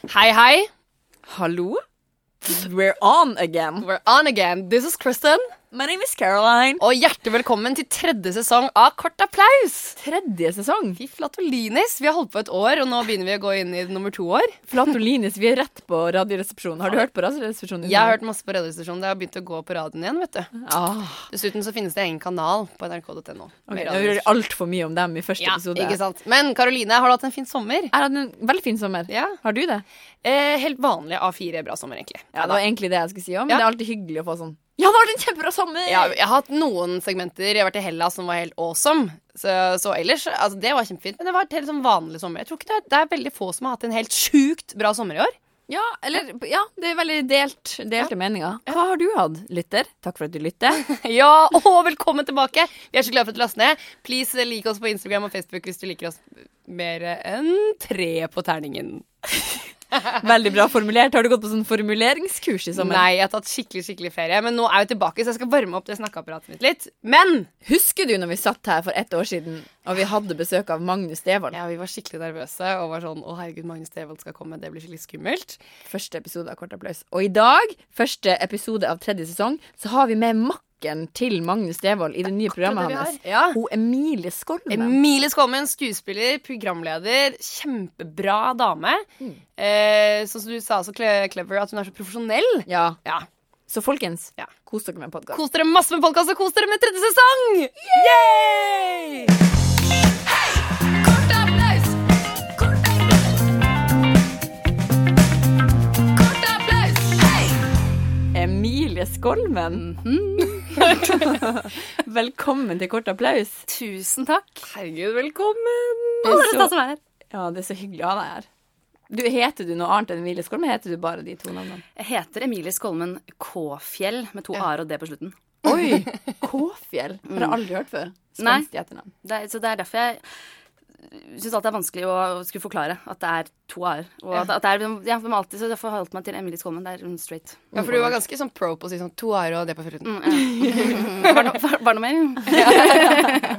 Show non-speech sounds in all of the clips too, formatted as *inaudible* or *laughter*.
Hei, hei. Hallo? We're on again. We're on again. This is Kristen. My name is Caroline. Og hjertelig velkommen til tredje sesong av Kort applaus. Tredje sesong. Fy flatolinis. Vi har holdt på et år, og nå begynner vi å gå inn i nummer to år. Flatolinis, vi er rett på Radioresepsjonen. Har du hørt på Radioresepsjonen? Jeg har hørt masse på Radioresepsjonen. Det har begynt å gå på radioen igjen, vet du. ah, Dessuten så finnes det egen kanal på nrk.no. med okay. Jeg radioresepsjon. hører altfor mye om dem i første Ja, episode. ikke sant. Men Karoline, har du hatt en fin sommer? Jeg hadde en veldig fin sommer. Ja. Har du det? Eh, helt vanlig A4 bra sommer, egentlig. Ja, Det var egentlig det jeg skulle si òg, Ja. men det er alltid hyggelig å få sånn Ja, det har vært en kjempebra sommer! Ja, jeg har hatt noen segmenter. Jeg har vært i Hellas som var helt awesome. Så, så ellers, altså Det var kjempefint. Men det var et helt sånn vanlig sommer. Jeg tror ikke det, er, det er veldig få som har hatt en helt sjukt bra sommer i år. *laughs* Ja, eller Ja, det er veldig delt, delte meninger. Hva har du hatt, lytter? Takk for at du lytter. Ja, og velkommen tilbake! Vi er så glade for at du laster ned. Please eh, lik oss på Instagram og Facebook hvis du liker oss mer enn tre på terningen. Veldig bra formulert. Har du gått på sånn formuleringskurs i sommer? Nei, jeg har tatt skikkelig skikkelig ferie, men nå er jeg tilbake, så jeg skal varme opp det snakkeapparatet mitt litt. Men Husker du når vi satt her for ett år siden og vi hadde besøk av Magnus Devold? ja, vi var skikkelig nervøse og var sånn Å, herregud, Magnus Devold skal komme, det blir skikkelig skummelt. Første episode av Kort applaus. Og i dag, første episode av tredje sesong, så har vi med makken til Magnus Devold i det nye programmet det vi hans. har. Ja. Hun Emilie Skolmen. Emilie Skåmen, skuespiller, programleder, kjempebra dame. Mm. Eh, sånn som du sa, så cle- clever at hun er så profesjonell. Ja. Ja. Så folkens, Ja. kos dere med podkast. Kos dere masse med podkast, og kos dere med tredje sesong! Yay! Emilie Skolmen. Mhm. *laughs* Velkommen til Kort applaus. Tusen takk. Herregud, velkommen. Alle dere som som er her. Ja, det er så hyggelig å ha deg her. Du, heter du noe annet enn Emilie Skolmen? Heter du bare de to navnene? Jeg heter Emilie Skolmen K-fjell, med to a-er og d på slutten. Oi! Kåfjell. Har jeg aldri hørt før. Nei. Spenstig etternavn. Det er, så det er derfor jeg syns alltid det er vanskelig å skulle forklare at det er to a-er. Og at, at det er, ja, men alltid, så derfor har jeg holdt meg til Emilie Skolmen. Det er hun straight. Ja, for du var ganske sånn pro på å si sånn to ærer og det på slutten. Mm, ja. Var det noe- var- var det noe mer?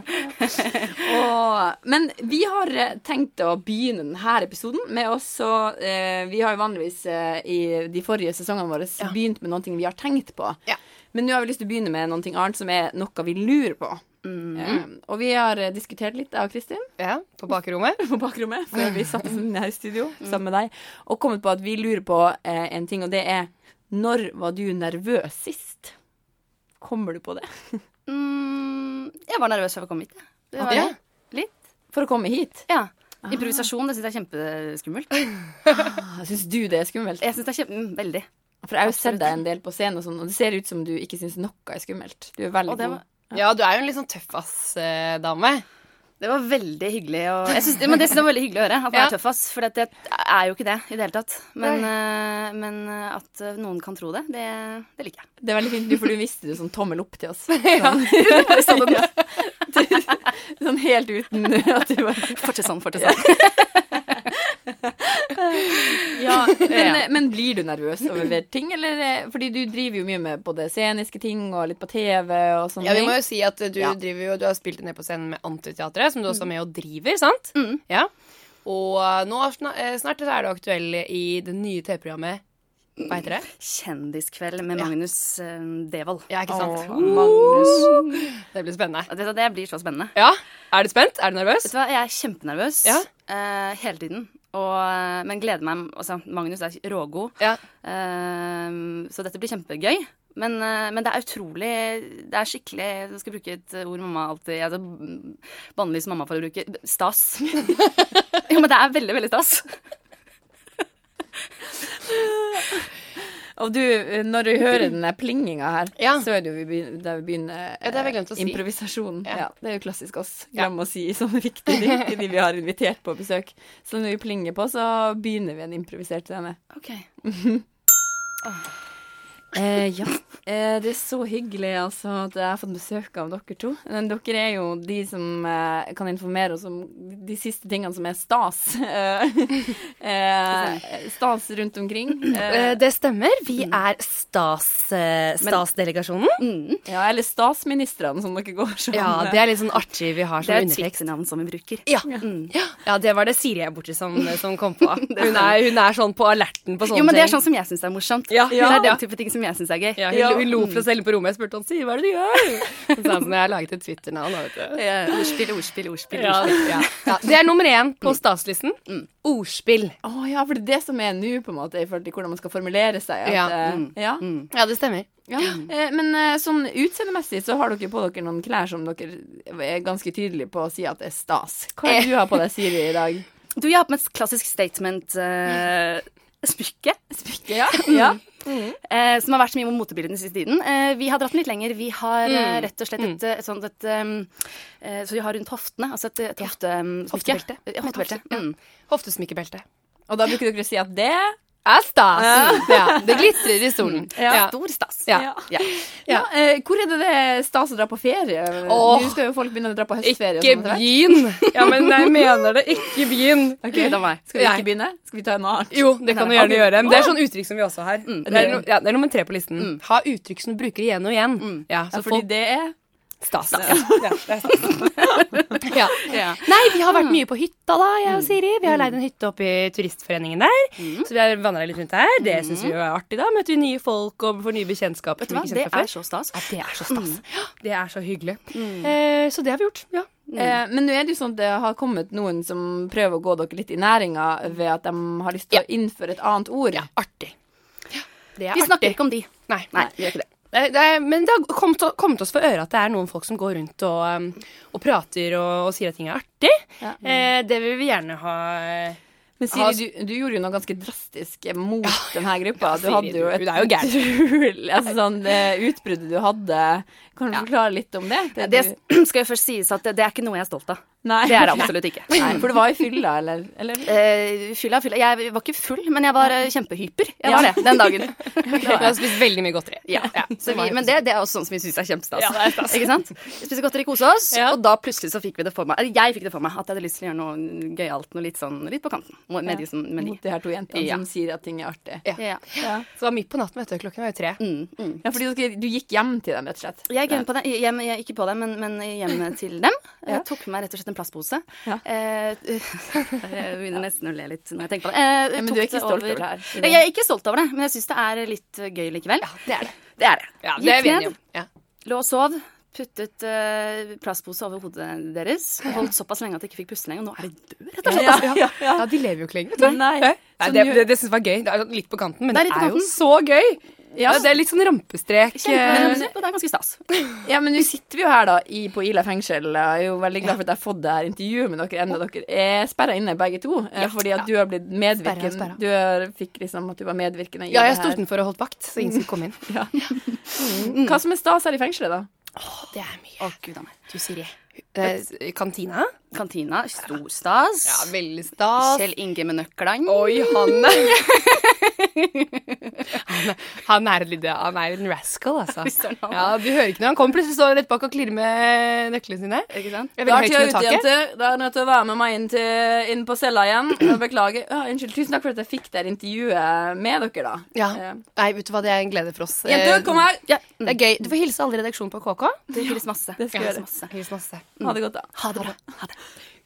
Og, men vi har eh, tenkt å begynne denne episoden med også eh, Vi har jo vanligvis eh, i de forrige sesongene våre begynt med noe vi har tenkt på. Ja. Men nå har vi lyst til å begynne med noe annet som er noe vi lurer på. Eh, og vi har eh, diskutert litt, jeg og Kristin, *laughs* Ja, på bakrommet. på bakrommet før vi satte oss ned her i studio sammen med deg, og kommet på at vi lurer på eh, en ting, og det er Når var du nervøs sist? Kommer du på det? Mm, jeg var nervøs før jeg kom hit. jeg. Det var Ja. Ah. jeg. Litt. For å komme hit? Ja. Improvisasjon, det syns jeg er kjempeskummelt. Syns du det er skummelt? Jeg syns det er kjempe... mm, Veldig. For jeg har jo sett deg en del på scenen, og, sånn, og det ser ut som du ikke syns noe er skummelt. Du er veldig Og det Mm. god. var Ja, du er jo en litt sånn eh, tøffass-dame. Det var veldig hyggelig å jeg synes, Men det synes jeg var veldig hyggelig å høre. At man Ja. er tøff, ass. For det er jo ikke det i det hele tatt. Men, eh, men eh, at eh, noen kan tro det, det, det liker jeg. Det er veldig fint, du- for du viste det sånn tommel opp til *laughs* oss. Sånn, *laughs* Sånn helt uten *laughs* at du var fortsett sånn, *laughs* fortsett sånn. Ja, men, men blir du nervøs *clears throat* over ting, eller eh, Fordi du driver jo mye med både sceniske ting og litt på TV og sånne Ja, vi ting. må jo si at eh, du Ja. driver jo Du har spilt ned på scenen med Antiteatret, som du Mm. også er med og driver, sant? Ja. Og eh, nå snart, snart så er du aktuell i det nye TV-programmet Hva heter det? Mm. Kjendiskveld med Magnus eh, Devold. Ja, ikke sant? Å, Magnus. Det blir spennende. Vet du hva, Det blir så spennende. Ja. Er du spent? Er du nervøs? Vet du hva, jeg er kjempenervøs Ja. eh, hele tiden. Og, eh, men gleder meg altså, Magnus er rågod. Ja. Eh, så dette blir kjempegøy. Men, eh, men det er utrolig Det er skikkelig Jeg skal bruke et ord mamma alltid altså, Bannlyst mamma for å bruke stas. *laughs* jo, men det er veldig, veldig stas. Og du, eh, når du hører den der plinginga her, Ja. så er det jo vi begynner, der vi begynner Ja, det har vi glemt å eh, si. improvisasjonen. Ja. Ja. det er jo klassisk oss. Glemme å si sånne viktige ting til de vi har invitert på besøk. Så når vi plinger på, så begynner vi en improvisert scene. Ok Eh, ja. Eh, det er så hyggelig altså, at jeg har fått besøk av dere to. Men dere er jo de som eh, kan informere oss om de siste tingene som er stas. *laughs* Eh, eh, stas rundt omkring. *laughs* Eh, Eh, Det stemmer. Vi Mm. er stas, eh, Stas-delegasjonen. ja, eller Stasministrene, som dere går som. Ja, det er litt sånn artig vi har Det som er et undertekst. Twitter-navn som vi bruker. Ja. Ja. ja, det var det Siri jeg er borti som, som kom *laughs* på. Hun er, hun er sånn på alerten på sånne Jo, men det er ting. sånn som jeg syns er morsomt. Ja. Det Ja. er den type ting som jeg syns er gøy. Ja, hun, Ja. hun lo for oss selv på rommet. Jeg spurte han Siri, hva er det du gjør? *laughs* Hun sa sånn, jeg har laget et Twitter-navn. da, vet du. Eh, Ordspill, ordspill, ordspill. Ja, ordspill. ja. *laughs* Ja, det er nummer én Mm. på statslisten. Ordspill. Å ja, for det er det som er nå, på en måte, i forhold til hvordan man skal formulere seg. At, Ja. eh, ja. Ja, det stemmer. Ja. Eh, Men eh, sånn utseendemessig så har dere på dere noen klær som dere er ganske tydelige på å si at er stas. Hva er det du har på deg, Siri, i dag? Du, jeg har på meg et klassisk eh, statement-smykke. Smykke, *laughs* ja. Mm. ja. eh, som har vært mye på motebildet den siste tiden. Eh, vi har dratt den litt lenger. Vi har eh, rett og slett et, eh, et sånt et um, eh, Så vi har rundt hoftene. Altså et, et hofte, um, smykke. Hoftebelte. Ja, hoftebelte. Mm. Hoftesmykkebelte. Og da bruker dere å si at det Er stas. Ja, det glitrer i stolen. Ja. Stor stas. Ja. Ja. Ja, eh, Hvor er det det er stas å dra på ferie? Åh. Nå skal jo folk begynne å dra på høstferie. og Ikke sånt etter hvert. begynn! sånn, Ja, men *laughs* jeg mener det. Ikke begynn. Ok, Gud a meg. Skal vi Nei. ikke begynne? Skal vi ta en annen? Jo, det kan du gjerne gjøre. Men det er sånn uttrykk som vi også har. Mm. Det, er no, ja, det er nummer tre på listen. Ha uttrykk som du bruker igjen og igjen. Mm. Ja, så Ja, folk fordi det er stas. Ja, det er stas. *laughs* Mm. ja. Ja. Mm. Nei, vi har vært mye på hytta, da, jeg og Siri. Vi har leid en hytte oppe i Turistforeningen der. Så vi har vandra litt rundt der. Det syns vi jo er artig, da. Møter vi nye folk og får nye bekjentskaper. Mm. Vet du hva, det er så stas. ja, Mm. det er så stas. Mm. Ja, Det er så hyggelig. Eh, så det har vi gjort. Ja. Eh, men nå er det jo sånn at det har kommet noen som prøver å gå dere litt i næringa ved at de har lyst til å innføre et annet ord. Artig. Det er Vi snakker artig. ikke om de. Nei. Nei, vi gjør ikke det. Nei, Det er, men det har kommet, kommet oss for øre at det er noen folk som går rundt og, um, og prater og, og sier at ting er artig. Eh, det vil vi gjerne ha eh, Men Har- Siri, du, du gjorde jo noe ganske drastisk mot denne gruppa. Du Siri, hadde jo du- et du er jo gæren. *laughs* utrolig- altså sånn, det utbruddet du hadde. Kan du forklare litt om det? Det, Det du, *clears throat* skal jo først sies at det, det er ikke noe jeg er stolt av. nei. Det er det absolutt ikke. Nei, *laughs* for det var i fylla, eller? eller? Eh, fylla, fylla. Jeg var ikke full, men jeg var eh, kjempehyper. Jeg var det den dagen. *laughs* Vi har spist veldig mye godteri. Ja, *laughs* *laughs* Så vi, men det, det er også sånn som vi syns er kjempestas. Ja, det er stas. Ikke sant? Vi spiser godteri, kose oss, og da plutselig så fikk vi det for meg. Eller jeg fikk det for meg at jeg hadde lyst til å gjøre noe gøyalt, noe litt sånn litt på kanten. Må- Med de som med de. Mot de her to jentene Ja. som sier at ting er artig. Ja. Ja. Ja. Så det var midt på natten, vet du. Klokken var jo tre. Mm, mm. Ja, fordi dere, du gikk hjem til dem, rett og slett? Jeg gikk hjem på dem, hjem, jeg, ikke på dem, men, men hjem *laughs* til dem. Jeg tok med meg rett og slett en plastpose. Ja. Eh, *laughs* jeg begynner nesten å le litt når jeg tenker på det. Eh, Ja, men tok du er ikke stolt over det her? Nei, Jeg er ikke stolt over det, men jeg syns det er litt eh, gøy likevel. Det er det. Det er det. Ja, Gikk det er vi enige ned. om. Ja. Lå og sov. Puttet eh, plastpose over hodet deres. Holdt såpass lenge at jeg ikke fikk puste lenger. og Nå er jeg død, rett og slett. Ja, ja, ja. de lever jo ikke lenger. Men nei. Nei, Sånn det gjør- det, det syns jeg var gøy. Det er litt på kanten, men Det det er, er litt på jo kanten. så gøy. Ja, det er litt sånn rampestrek. eh, Kjempe- og det er ganske stas. Ja, men nå sitter vi jo her da i, på Ila fengsel. Jeg er jo veldig glad for at jeg har fått det her intervjuet med dere ennå. Dere er sperra inne begge to. eh, Fordi at du har blitt Sperra, medvirkende. sperra. Du har, fikk liksom at du var medvirkende i Ja, jeg det sto her. utenfor og holdt vakt, så ingen skulle komme inn. mm. Hva som er stas her i fengselet, da? Det er mye. Å, gud a meg. Du, Siri. Eh, kantina? Kantina, stor stas. veldig stas. Kjell Inge med nøklene. Oi, han er Han, er litt, han er en rascal, *laughs* altså. søren, han er. Ja, du hører ikke når han kommer. Plutselig står han rett bak og klirrer med nøklene sine. Ikke sant? Det er veldig høyt under taket. jenter. Da er nødt til å være med meg inn, til, inn på cella *clears throat* igjen. Og Beklager. Ja, unnskyld. Tusen takk for at jeg fikk det her intervjuet med dere, da. Ja. Eh, Nei, vet du hva, det er en glede for oss. Eh, Jenter, kom her! Ja, det er gøy. Du får hilse alle i redaksjonen på KK. Det hyles masse. det skal jeg Hyles gjøre. masse. Hils masse. Ha det godt, da. Ha det bra. Ha det.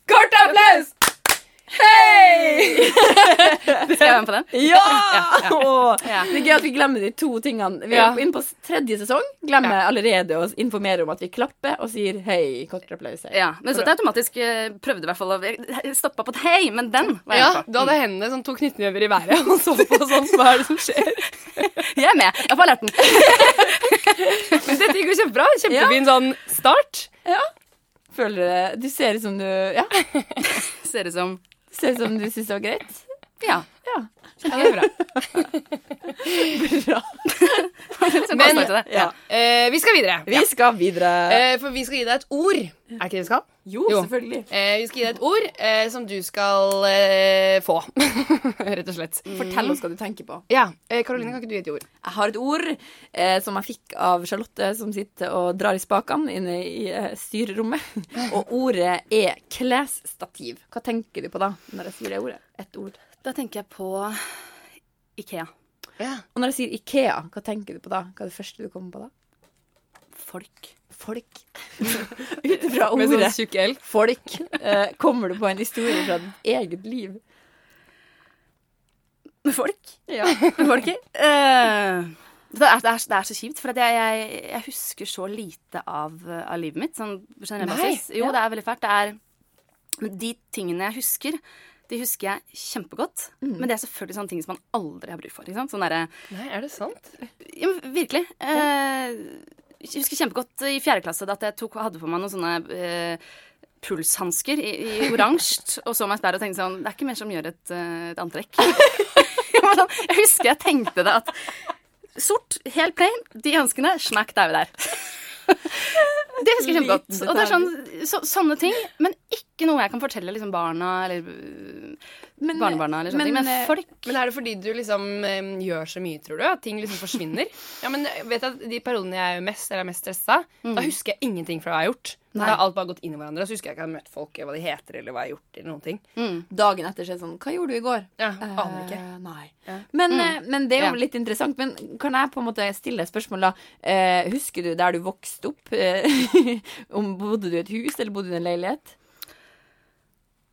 Kort applaus! Skal jeg være med på den? Ja! Åh, Ja. Det er gøy at vi glemmer de to tingene. Vi Ja. er inne på s- tredje sesong. Glemmer allerede å s- informere om at vi klapper og sier hei. Kort applaus. hei. Ja, men så at jeg automatisk eh, prøvde i hvert fall å Jeg stoppa på et hei, men den var Ja, jeg med på. du hadde hendene som to knyttnever i været og så på sånn. Hva er det som skjer? Jeg er med. Jeg får lært den. *laughs* Men dette gikk jo kjempebra. Kjempefin sånn start. Føler det Du ser ut som du Ja. Du *laughs* Ser ut som ser ut som du syns det var greit. Ja. Ja. Ja, det er bra. Bra. Så Men- bare starte det. Ja. Eh, vi skal videre. Vi skal videre. Eh, for vi skal gi deg et ord. Er ikke det vi skal? Jo, jo. selvfølgelig. Eh, vi skal gi deg et ord eh, som du skal eh, få. *laughs* Rett og slett. Fortell oss hva du tenker på. Ja, eh, Karoline, kan ikke du gi et ord? Jeg har et ord eh, som jeg fikk av Charlotte, som sitter og drar i spakene inne i eh, styrerommet. Og ordet er klesstativ. Hva tenker du på da, når jeg sier det ordet? Et ord. Da tenker jeg på Ikea. Og når jeg sier Ikea, hva tenker du på da? Hva er det første du kommer på da? Folk. Folk. *laughs* Ut fra sånn ordet tjukk L. folk eh, kommer du på en historie fra ditt eget liv. Folk? *laughs* Ja. Folket? Eh, det, er, det, er, det er så kjipt, for at jeg, jeg, jeg husker så lite av, eh, av livet mitt. Sånn på generell Nei, basis. Jo, det er veldig fælt. Det er men De tingene jeg husker, de husker jeg kjempegodt. Men det er selvfølgelig sånne ting som man aldri har bruk for. Ikke sant? Sånn derre Nei, er det sant? ja, men virkelig. Eh, jeg husker kjempegodt i fjerde klasse at jeg tok, hadde på meg noen sånne eh, pulshansker i, i *laughs* oransje, og så meg i speilet og tenkte sånn Det er ikke mer som gjør et, eh, et antrekk. *laughs* Jeg var sånn, jeg husker jeg tenkte det at Sort, helt plain, de hanskene, smack, da er vi der. Det husker jeg kjempegodt. Liten Og det er sånn, så, sånne ting. Men ikke noe jeg kan fortelle liksom barna eller Men, barnebarna eller sånne men, ting. Men eh, folk Men er det fordi du liksom eh, gjør så mye, tror du? At ting liksom *laughs* forsvinner? Ja, men eh, vet du at De periodene jeg er mest eller er mest stressa, Mm. da husker jeg ingenting fra hva jeg har gjort. Da har alt bare gått inn i hverandre, og så husker jeg ikke at jeg har møtt folk, hva de heter, eller hva jeg har gjort, eller noen ting. Dagen etter så er det sånn Hva gjorde du i går? Ja, aner ikke. Eh, nei. Men, eh, men det er jo Ja. litt interessant. Men kan jeg på en måte stille et spørsmål, da? Eh, husker du der du vokste opp? Eh, *laughs* om Bodde du i et hus, eller bodde du i en leilighet?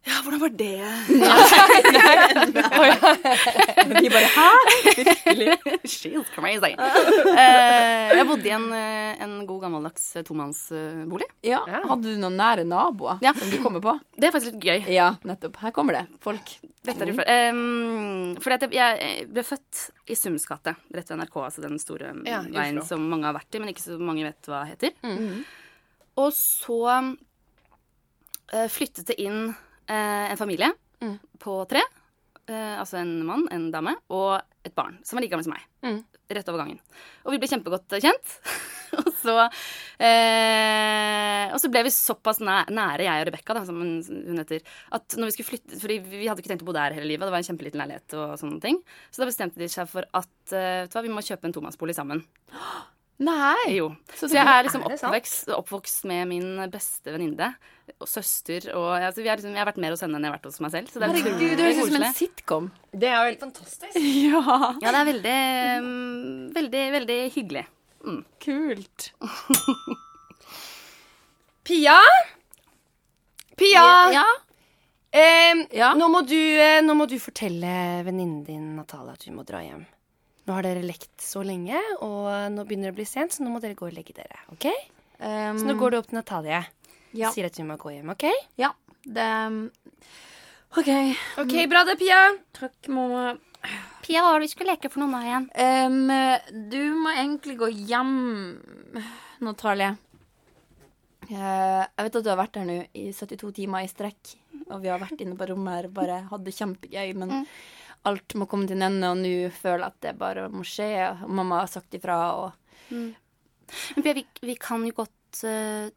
Ja, hvordan var det? De bare *laughs* Hæ? She's *laughs* crazy. Eh, jeg bodde i en, eh, en god gammeldags eh, tomannsbolig. Ja. Ja. Hadde du noen nære naboer Ja. som du kommer på? Det er faktisk litt gøy. Ja, nettopp. Her kommer det. Folk. Dette Mm. er litt flaut. Eh, fordi at jeg, jeg ble født i Sums gate, rett ved NRK, altså den store eh, Ja, i Oslo. Mm. veien som mange har vært i, men ikke så mange vet hva heter. Og så eh, flyttet det inn eh, en familie Mm. på tre. eh, altså en mann, en dame og et barn som er like gammel som meg. Mm. Rett over gangen. Og vi ble kjempegodt eh, kjent. *laughs* og, så, eh, og så ble vi såpass næ- nære, jeg og Rebekka, da, som hun, hun heter, at når vi skulle flytte Fordi vi hadde ikke tenkt å bo der hele livet, det var en kjempeliten leilighet og sånne ting. Så da bestemte de seg for at eh, vet du hva, vi må kjøpe en tomannsbolig sammen. Nei! Jo. Så Så jeg er liksom Er det sant? oppvokst, oppvokst med min beste venninne og søster. Og, altså, vi er liksom, jeg har vært mer hos henne enn jeg har vært hos meg selv. Så det er Herregud, utrolig det høres ut som koselig. en sitcom. Det er jo helt fantastisk. Ja. Ja, det er veldig, mm, veldig, veldig hyggelig. Kult. *laughs* Pia? Pia! Ja. Eh, Ja. Nå, må du, eh, nå må du fortelle venninnen din Natalia at hun må dra hjem. Nå har dere lekt så lenge, og nå begynner det å bli sent, så nå må dere gå og legge dere. ok? Um, Så nå går du opp til Natalie. Ja. Sier at hun må gå hjem, OK? ja. Det ehm, OK. Ok, Bra det, Pia. Takk, mamma. Pia, hva var det vi skulle leke for noe nå igjen? Em, Ehm, du må egentlig gå hjem, Natalie. Eh, jeg vet at du har vært her nå i 72 timer i strekk, og vi har vært inne på rommet her og bare hatt det kjempegøy, men alt må komme til en ende, og nå føler jeg at det bare må skje. og Mamma har sagt ifra, og Men Pia, vi, vi kan jo godt eh,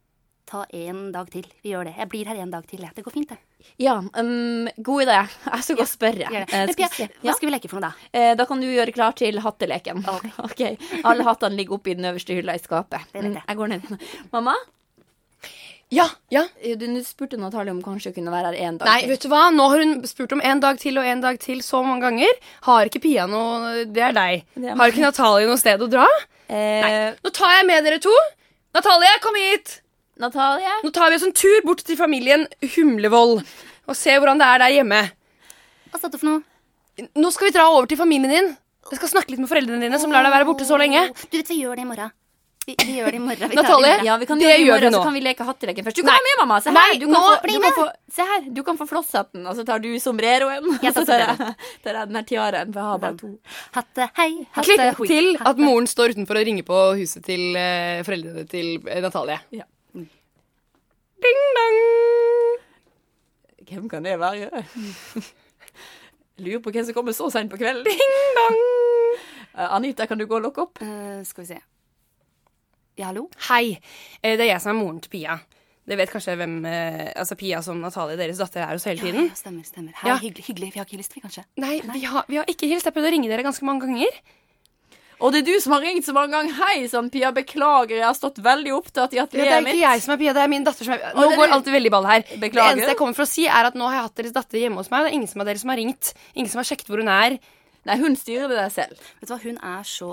ta en dag til. Vi gjør det. Jeg blir her en dag til. jeg. Det går fint, det. Ja, em, god idé. Jeg skal gå og spørre. Gjør det. Eh, Men skal vi Pia, se. hva Ja. skal vi leke for noe da? Eh, da kan du gjøre klar til hatteleken. *laughs* Ok. Alle hattene ligger oppi den øverste hylla i skapet. Det vet jeg. Mm, Jeg går ned. Mamma, Ja, ja. eh, du nå spurte Natalie om kanskje hun kunne være her en dag. Nei, til. vet du hva? Nå har hun spurt om en dag til og en dag til så mange ganger. Har ikke Pia noe Det er deg. Det er meg. Har ikke Natalie noe sted å dra? Eh, Nå tar jeg med dere to. Natalie, kom hit! Natalie? Nå tar vi oss en tur bort til familien Humlevold og ser hvordan det er der hjemme. Hva sa du for noe? Nå skal vi dra over til familien din. Jeg skal snakke litt med foreldrene dine, som lar deg være borte så lenge. Oh, Du vet, vi gjør det i morgen. Vi, vi gjør det i morgen. Vi tar det i Natalie? morgen. Ja, vi kan Det gjøre det i gjør morgen, vi nå. så kan vi leke hatteleken først. Du kan Nei. være med, mamma. Se her. Nei, du kan nå få, bli du kan få, se her. Du kan få flosshatten, og så tar du sombreroen. Jeg Og *laughs* så tar tar jeg, tar jeg den her tiaraen, for jeg har bare to. Hatte hei, hatte Klipp hoi. til at moren står utenfor og ringer på huset til eh, foreldrene til eh, Natalie. Ja. Ding-dong! Hvem kan det være? Lurer på hvem som kommer så sent på kvelden. Ding-dong! Eh, Anita, kan du gå og lukke opp? Eh, skal vi se. Ja, hallo? Hei, eh, det er jeg som er moren til Pia. Det vet kanskje hvem eh, Altså Pia som Natalie, deres datter, er hos hele Ja, tiden. ja, stemmer, stemmer. Hei, Ja. hyggelig, hyggelig. Vi har ikke hilst, vi, kanskje? Nei, vi har, vi har ikke hilst. Jeg prøvde å ringe dere ganske mange ganger. Og det er du som har ringt så mange ganger. Hei sann, Pia, beklager, jeg har stått veldig opptatt i Ja, det er atelieret ikke mitt. jeg som er Pia, det er min datter som er Nå det er går du. alt i veldig ball her. Det Beklager. eneste jeg kommer for å si, er at nå har jeg hatt deres datter hjemme hos meg, og det er ingen som av dere som har ringt. Ingen som har sjekket hvor hun er. Nei, hun styrer det der selv. Vet du hva, hun er så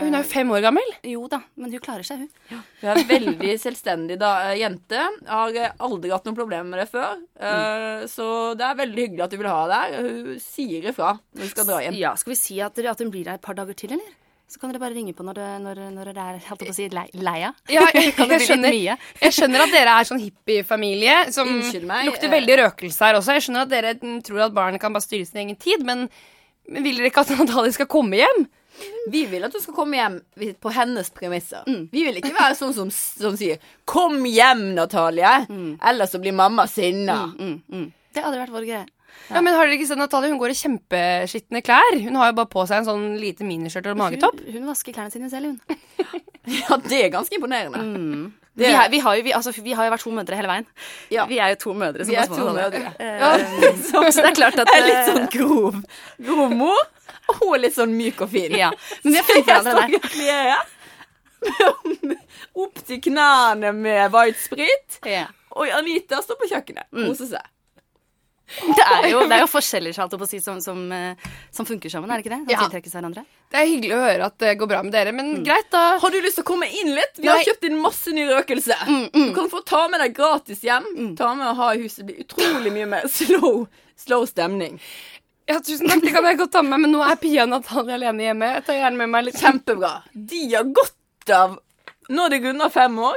Hun er jo fem år gammel. Jo da, men hun klarer seg, hun. Hun er veldig selvstendig da, eh, jente. Har eh, aldri hatt noen problemer med det før. Mm. Eh, Så det er veldig hyggelig at du vil ha deg der. Hun sier ifra når hun skal dra hjem. Ja, Skal vi si at, dere- at hun blir her et par dager til, eller? Så kan dere bare ringe på når, det- når, når dere er holdt jeg på å si, lei, leia. *laughs* Ja, *laughs* jeg, Kan det bli litt skjønner, mye? jeg skjønner at dere er sånn hippiefamilie som Unnskyld meg, lukter eh. veldig røkelse her også. Jeg skjønner at dere mm, tror at barn kan bare styre sin egen tid, men, men vil dere ikke at *laughs* Natalie skal komme hjem? Vi vil at hun skal komme hjem på hennes premisser. Mm. Vi vil ikke være sånn som, som sier 'Kom hjem, Natalie', ellers så blir mamma sinna. Mm, mm. Det hadde vært vår greie. Ja, men har dere ikke sett Natalie? Hun går i kjempeskitne klær. Hun har jo bare på seg en sånn lite miniskjørt og magetopp. Hun, hun vasker klærne sine selv, *laughs* hun. *laughs* Ja, det er ganske imponerende. Vi, har, vi, har jo, vi, altså, vi har jo vært to mødre hele veien. Ja. Vi er jo to mødre. som Vi er passer på to hverandre. mødre. Eh, *laughs* Så det er *laughs* klart at Jeg er eh, litt sånn grov. Grov mor. Og hun er litt sånn myk og fin. Ja. Men vi har *laughs* Jeg funnet hverandre står *laughs* der. i kledet. Opp til knærne med white sprit. Ja. Og Anita står på kjøkkenet Mm. og koser seg. Det er jo, det er jo forskjeller så holdt jeg på å si, som, som, eh, som funker sammen, er det ikke det? Som Ja. tiltrekkes av hverandre. Det er hyggelig å høre at det går bra med dere, men Mm. greit, da. Har du lyst til å komme inn litt? Vi har Nei. kjøpt inn masse ny røkelse. Du kan få ta med deg gratis hjem. Ta med og ha i huset. Det blir utrolig mye mer *laughs* slow, slow stemning. Ja, tusen takk, det kan jeg godt ta med meg, men nå er Pia og Natalie alene hjemme. Jeg tar gjerne med meg litt Kjempebra. De har godt av Når det runder fem år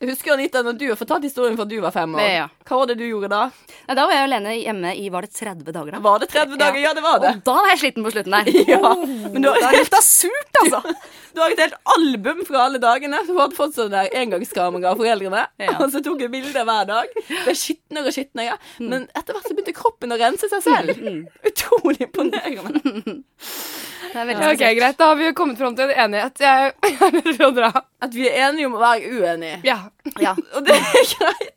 Jeg husker Anita, når du har fortalt historien fra du var fem år, Det, ja. hva var det du gjorde da? Nei, da var jeg alene hjemme i var det 30 dager, da. Var det 30 dager? Ja, det var det. Og da var jeg sliten på slutten der. *laughs* Ja, men du har, Da lukta surt, *laughs* altså. du har et helt album fra alle dagene. Du hadde fått sånn der engangskamera av foreldrene, Ja. *laughs* og så tok jeg bilder hver dag. Det er skitnere og skitnere, Mm. men etter hvert så begynte kroppen å rense seg selv. *laughs* Utrolig imponerende. Det er veldig Ja, ok, Greit, da har vi jo kommet fram til en enighet. Jeg jeg er *laughs* nødt til å dra. At vi er enige om å være uenige, Ja. spesielt. Ja. og det er *laughs* greit.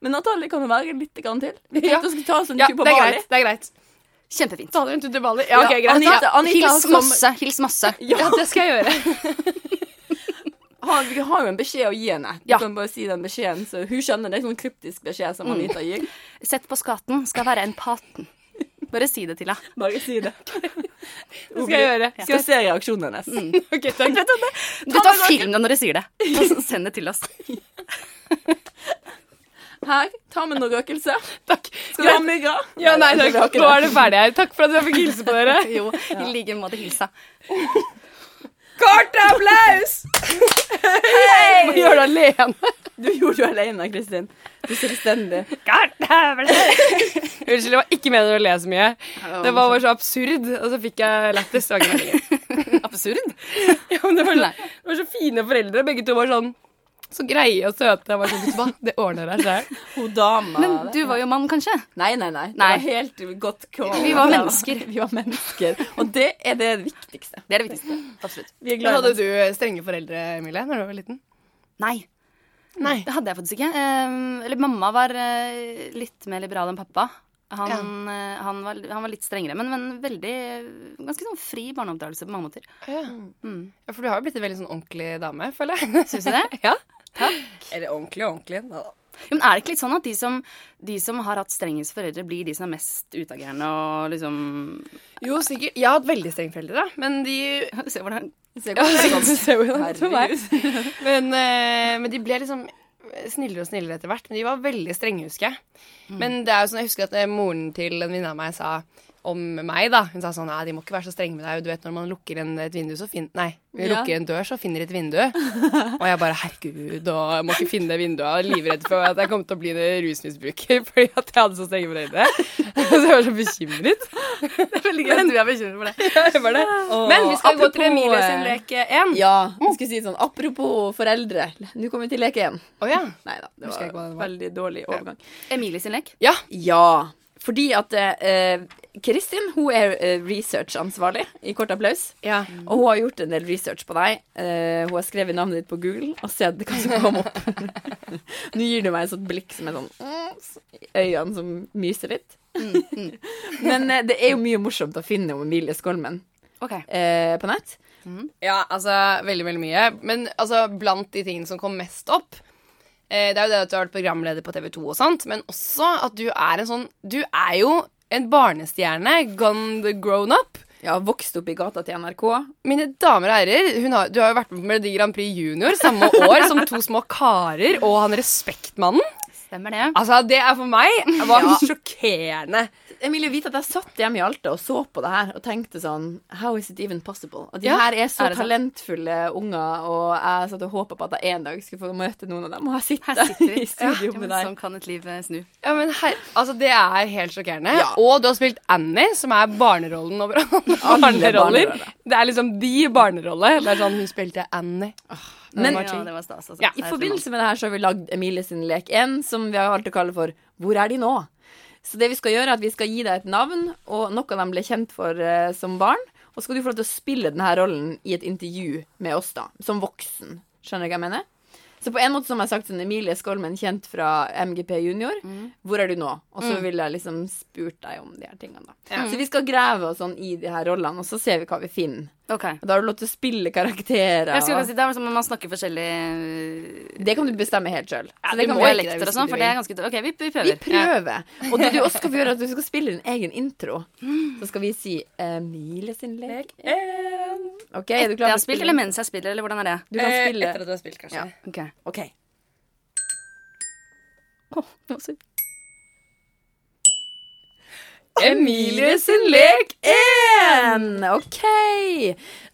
Men Natalie kan jo være litt grann til. Vi Ja. skal ta oss en ja, tur på det er Bali. greit. Det er greit. Kjempefint. Taler hun til Bali? Ja, ok, Ja, greit. Anita- ja. Anita har Hils kommet- masse. Hils masse. ja, det skal jeg gjøre. *laughs* har, vi har jo en beskjed å gi henne. Du Ja. kan bare si den beskjeden, så hun skjønner. Det er en sånn kryptisk beskjed som Anita Mm. gir. Sett på skatten skal være en paten. Bare si det til henne. Bare si *laughs* det. Det skal jeg gjøre. Skal se reaksjonen hennes. Ok, takk. Du tar film det når du sier det, og så send det til *laughs* oss. Her, ta med noe røkelse. Takk. Skal du ha mygga? Ja, nei, vi har takk. ikke Nå det. er det ferdig her. Takk for at jeg fikk hilse på dere. Jo, i like måte hilsa. *laughs* Kort applaus! Må gjøre det alene. Du gjorde jo alene, Kristin. Du er selvstendig. Unnskyld, jeg var ikke meningen å le så mye. Det var bare så absurd, og så fikk jeg lættis. Det var ikke meningen. *laughs* Absurd. Ja, men det var, Nei. så, det var så fine foreldre. Begge to var sånn så greie og søte. Jeg var sånn, vet du hva, det ordner deg *laughs* selv. Hun dama Men du var jo mann, kanskje? Nei, nei, nei. Det Nei. var helt godt kål. Vi var mennesker. Vi var mennesker. Og det er det viktigste. Det er det viktigste. Absolutt. Vi er glad i Hadde mennesker. du strenge foreldre, Emilie, når du var liten? Nei. Nei. Det hadde jeg faktisk ikke. Eh, Eller mamma var eh, litt mer liberal enn pappa. Han, eh, han, var, han var litt strengere, men, men veldig Ganske sånn fri barneoppdragelse på mange måter. Ja. Mm. Ja, for du har jo blitt en veldig sånn ordentlig dame, føler *laughs* jeg. Syns du det? ja. Eller ordentlig og ordentlig. da. Jo, men er det ikke litt sånn at de som, de som har hatt strengest foreldre, blir de som er mest utagerende og liksom *laughs* Jo, sikkert. Jeg har hatt veldig strenge foreldre, da, men de Se hvordan Se Ja, godt. du ser jo det på meg. Herregud. Men, eh, men de ble liksom snillere og snillere etter hvert. Men de var veldig strenge, husker jeg. Men det er jo sånn, jeg husker at eh, moren til en venninne av meg sa om meg, da. Hun sa sånn Nei, de må ikke være så strenge med deg. Du vet når man lukker en, et vindu, så finner Nei, vi Ja. lukker en dør, så finner de et vindu. Og jeg bare Herregud, og jeg må ikke finne det vinduet. Jeg var livredd for at jeg kom til å bli en rusmisbruker *laughs* fordi at jeg hadde så strenge foreldre. *laughs* Så jeg var så bekymret. *laughs* Veldig gøy at du er bekymret for det. Jeg var det. Men vi skal gå til apropos, Emilie eh, sin lek én. Ja, jeg skulle si sånn apropos foreldre. Nå kommer vi til leke igjen. Å ja. Nei da, det Husker jeg ikke hva var det var. veldig dårlig overgang. Emilie sin lek. Ja. Ja, Fordi at eh, Kristin hun er eh, researchansvarlig i Kort applaus. Ja. Og hun har gjort en del research på deg. Eh, hun har skrevet navnet ditt på Google og sett hva som kom opp. *laughs* Nå gir du meg et sånt blikk som er sånn mm, så- Øynene som myser litt. *laughs* Men eh, det er jo mye morsomt å finne om Emilie Skolmen Ok. eh, på nett. Ja, altså veldig, veldig mye. Men altså, blant de tingene som kom mest opp eh, Det er jo det at du har vært programleder på TV2 og sånt, men også at du er en sånn Du er jo en barnestjerne gone the grown up. Ja, vokste opp i gata til NRK. Mine damer og herrer, hun har, du har jo vært med på Melodi Grand Prix Junior samme år som to små karer og han Respektmannen. Stemmer det. Altså, det er for meg var sjokkerende. Emilie vite at jeg satt hjemme i Alta og så på det her og tenkte sånn How is it even possible? At de Ja, her er så er det sant? talentfulle unger, og jeg satt og håpa på at jeg en dag skulle få møte noen av dem. Og jeg sitter, Her sitter vi. *laughs* i studio Ja, men med deg. Sånn kan et liv eh, snu. Ja, men her, altså, det er helt sjokkerende. Og du har spilt Annie, som er barnerollen overalt. *laughs* Barneroller. barneroller. Det er liksom de barnerolle. Det er sånn, hun spilte Annie. Men- ja, det var stas, altså. Ja, I forbindelse med det her så har vi lagd Emilie sin lek 1, som vi har valgt å kalle for Hvor er de nå? Så det vi skal gjøre er at vi skal gi deg et navn og noe de ble kjent for eh, som barn. Og så skal du få lov til å spille denne rollen i et intervju med oss, da. Som voksen. Skjønner du hva jeg mener? Så på en måte som jeg har sagt sånn Emilie Skolmen, kjent fra MGP Junior. Hvor er du nå? Og så vil jeg liksom spurt deg om de her tingene, da. Så vi skal grave oss sånn i de her rollene, og så ser vi hva vi finner. Ok. Og da har du lov til å spille karakterer. Jeg skulle og- kanskje si, det er som om man snakker forskjellig eh, Det kan du bestemme helt sjøl. Så det kan være lekter og sånn, for det er vi, ganske Ok, vi, vi vi prøver. prøver. Og det du også skal få gjøre, er at du skal spille din egen intro. Så skal vi si eh, Emilie sin lek. OK, er du Jeg klar har spilt, eller mens jeg spiller, eller hvordan er det? Du kan spille Eh, at du har spilt, kanskje. Ok. OK. Emilie sin lek 1! OK.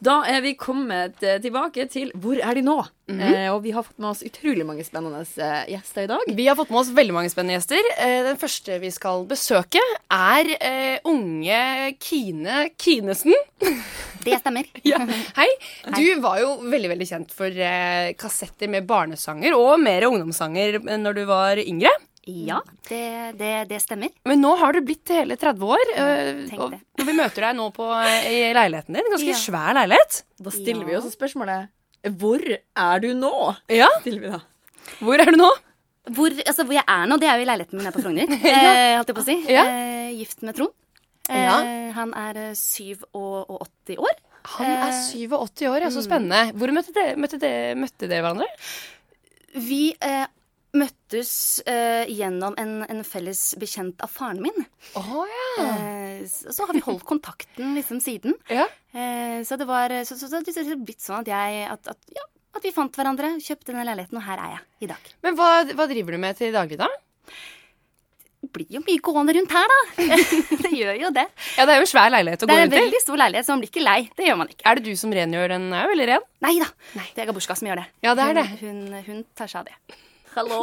Da er vi kommet eh, tilbake til Hvor er de nå? eh, og vi har fått med oss utrolig mange spennende eh, gjester i dag. Vi har fått med oss veldig mange spennende gjester. Eh, Den første vi skal besøke, er eh, unge Kine Kinesen. Det stemmer. Ja. Hei. Du var jo veldig veldig kjent for eh, kassetter med barnesanger og mer ungdomssanger eh, når du var yngre. *laughs* Ja, det, det, det stemmer. Men nå har du blitt hele 30 år, eh, Tenk og det. og vi møter deg nå på, eh, i leiligheten din. Ganske Ja. svær leilighet. Da stiller Ja. vi også spørsmålet eh, Hvor er du nå? Ja. Stiller vi da. Hvor er du nå? Hvor, altså, hvor jeg er nå, det er jo i leiligheten min her *laughs* på Frogner. eh, holdt jeg på å si. Ja. Eh, gift med Trond. Eh, Ja. Han er eh, 87 år. Han er 87 år, ja. Så spennende. Hvor møtte dere, møtte dere, møtte dere hverandre? Vi eh, møttes eh, gjennom en, en felles bekjent av faren min. Å ja. Eh, så, så har vi holdt kontakten liksom siden. ja. Eh, så det var så, så, så, det har blitt sånn at jeg at, at, ja, at vi fant hverandre, kjøpte denne leiligheten, og her er jeg i dag. Men hva, hva driver du med til daglig, da? Det blir jo mye gående rundt her, da. *laughs* det gjør jo det. Ja, Det er jo en svær leilighet å Det gå er en rundt i. veldig stor leilighet, så man blir ikke lei. Det gjør man ikke. Er det du som rengjør den òg, eller ren? Nei da. Det er Gabushka som gjør det. Ja, det er det. Hun, hun, hun tar seg av det. Hallo,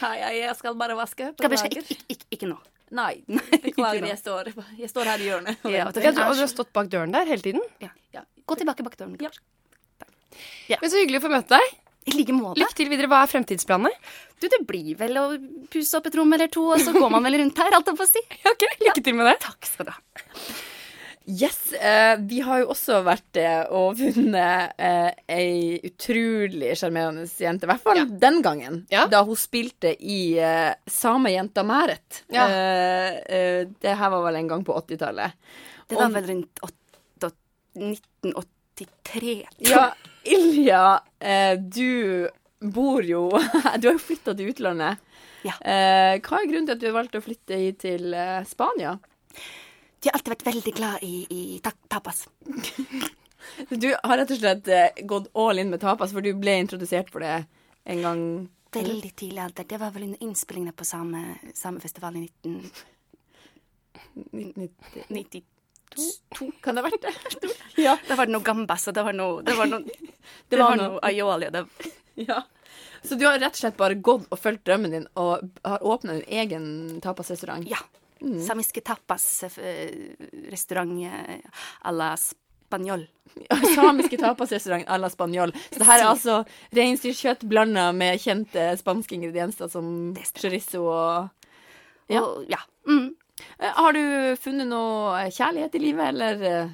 hei, jeg skal bare vaske. Gabushka, ikke, ikke, ikke, ikke nå. *laughs* Nei, nå. beklager, jeg står, jeg står her i hjørnet. *laughs* Ja, vet du, Ja, hun du, altså- og er du har så- stått bak døren der hele tiden. ja. Gå tilbake bak døren. Ja. Gabushka. Men Så hyggelig å få møte deg. I like måte. Lykke til videre. Hva er fremtidsplanene? Du, det blir vel å pusse opp et rom eller to, og så går man vel rundt her, alt jeg får si. Ja, ok, Lykke til med det. Takk skal du ha. Yes, eh, vi har jo også vært eh, og vunnet eh, ei utrolig sjarmerende jente, i hvert fall den gangen, Ja. da hun spilte i eh, Samejenta Mæret. Ja. Eh, eh, det her var vel en gang på 80-tallet. Det var vel rundt åtte- åt- 1983. Ja, *laughs* Ilja, eh, du bor jo *laughs* Du har jo flytta til utlandet. Ja. Eh, hva er grunnen til at du valgte å flytte hit til eh, Spania? De har alltid vært veldig glad i, i ta tapas. Du har rett og slett eh, gått all in med tapas, for du ble introdusert for det en gang Veldig tidlig alder. Det var vel under innspillingene på same, samefestivalen i 1992. 1990. Kan det ha vært det? *laughs* ja. Da var det noe gambas, og det var noe, det var noe, det Det var var noe noe. aioli. og Det, ja. Så du har rett og slett bare gått og fulgt drømmen din, og har åpna din egen tapasrestaurant? ja. Samiske tapas-restaurant eh, à la spanjol. *laughs* Samiske tapasrestaurant à la spanjol. Så det her er altså reinsdyrkjøtt blanda med kjente spanske ingredienser som Det stemmer. chorizo og Og, ja. Mm. Eh, Har du funnet noe eh, kjærlighet i livet, eller eh,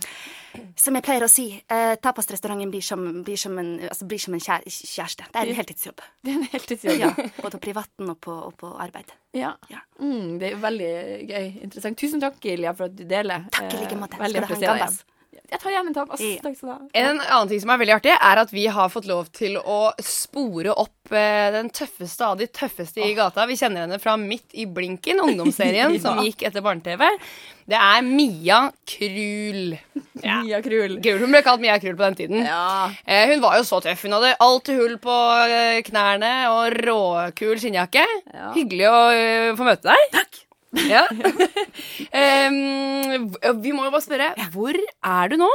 Som jeg pleier å si, eh, tapastrestauranten blir som, blir som en, altså blir som en kjæ- kjæreste. Det er en heltidsjobb. Det er en heltidsjobb. Ja, både på privaten og på, og på arbeid. Ja. Ja. Mm, det er veldig gøy. Interessant. Tusen takk, Ilja, for at du deler. Takk i Eh, like måte. Skal Veldig du ha artig å en se deg gambass? igjen. Jeg tar gjerne en tapas. Ja. Takk skal du ha. En annen ting som er veldig artig, er at vi har fått lov til å spore opp eh, den tøffeste av de tøffeste i gata. Vi kjenner henne fra Midt i blinken, ungdomsserien som gikk etter barne-TV. Det er Mia Krul. Ja. Mia Krul. Krul. Hun ble kalt Mia Krul på den tiden. Ja. Eh, Hun var jo så tøff. Hun hadde alltid hull på eh, knærne og råkul skinnjakke. Ja. Hyggelig å eh, få møte deg. Takk. Ja. *laughs* Em, vi må jo bare spørre, hvor er du nå?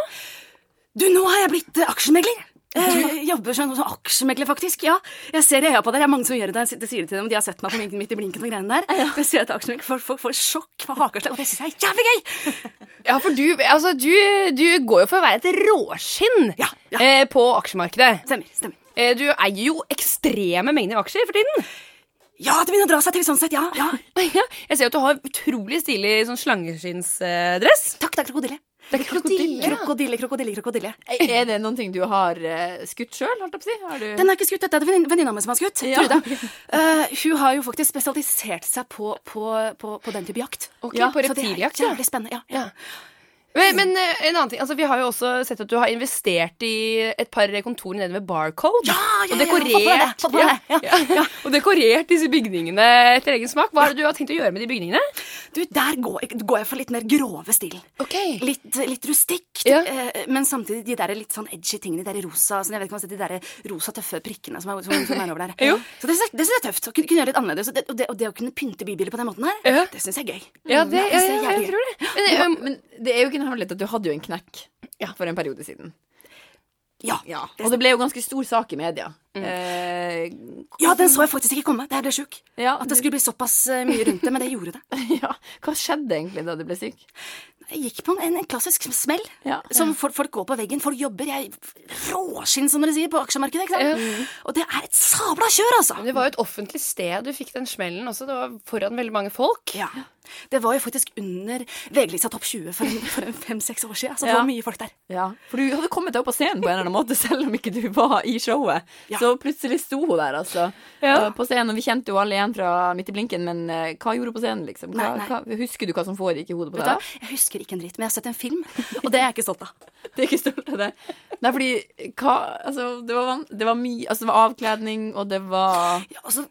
Du, nå har jeg blitt eh, aksjemegler. Eh, jobber som, som aksjemegler, faktisk. Ja, jeg ser i øya på dere. Det er mange som gjør det. Jeg sitter- sier det til dem, de har sett meg på midt, midt i blinken og greiene der. Jeg ser etter aksjemegler, folk, folk får sjokk fra hakeslag, og det synes jeg er jævlig gøy! Ja, for du, altså, du, du går jo for å være et råskinn Ja, ja. Eh, på aksjemarkedet. Stemmer. stemmer. Eh, du eier jo ekstreme mengder aksjer for tiden. Ja, det begynner å dra seg til sånn sett, ja. ja. *laughs* Ja, jeg ser jo at du har utrolig stilig sånn slangeskinnsdress. Takk, takk, krokodille. Det er krokodille. Krokodille, krokodille, krokodille. Er det noen ting du har eh, skutt sjøl, holdt jeg på å si? Har du Den er ikke skutt, dette er det vennin- venninna mi som har skutt. Ja. Trude. Eh, hun har jo faktisk spesialisert seg på, på, på, på den type jakt. Ok, Ja, på Så det er reptiljakt, ja. Jævlig spennende. Ja, Ja. Men, men eh, en annen ting, altså, vi har jo også sett at du har investert i et par kontorer nede ved Barcode. ja, ja, og ja, dekorert, ja, fått på det, fått på det, ja, ja, *laughs* og dekorert disse bygningene etter egen smak. Hva er det du har tenkt å gjøre med de bygningene? Du, der går jeg, går jeg for litt mer grove stil. Okay. Litt, litt rustikt, Ja. eh, men samtidig de der litt sånn edgy tingene. De der rosa, sånn, jeg vet ikke om jeg har sett de der rosa tøffe prikkene som er, som, som er over der. Jo. Så det, synes jeg- det syns jeg er tøft. Å kunne, kunne gjøre litt annerledes. Og det, og, det, og det å kunne pynte bybiler på den måten her, Ja. det syns jeg er gøy. Ja, det, ja, det ser ja, jeg jævlig tror det. Men, eh, Men det er jo ikke en hemmelighet at du hadde jo en knekk for en periode siden. Ja. Ja. Og det ble jo ganske stor sak i media. Eh, Mm. ja, den så jeg faktisk ikke komme. Der ble jeg sjuk. ja, At det skulle bli såpass eh, mye rundt det, men det gjorde det. *laughs* ja. Hva skjedde egentlig da du ble syk? Jeg gikk på en, en klassisk smell. Ja. Som folk, folk går på veggen, folk jobber. Jeg råskinn, som dere sier, på aksjemarkedet. ikke sant? Og det er et sabla kjør, altså! Men Det var jo et offentlig sted du fikk den smellen også. Det var foran veldig mange folk. Ja. Det var jo faktisk under VG-lista Topp 20 for, en- for en fem-seks år siden. Så det Ja. var mye folk der. Ja, For du hadde kommet deg opp på scenen på en eller annen måte, *laughs* selv om ikke du var i showet. Ja. Så plutselig sto hun der, altså. eh, På scenen, og Vi kjente jo alle igjen fra Midt i blinken, men eh, hva gjorde hun på scenen, liksom? Hva, Nei, nei. Hva, husker du hva som foregikk i hodet på Vet deg? da? du hva? Jeg husker ikke en dritt, men jeg har sett en film, og det er jeg ikke stolt av. Det er ikke stolt av det. Nei, fordi hva Altså, det var, van- det var mye Altså, det var avkledning, og det var Ja, altså,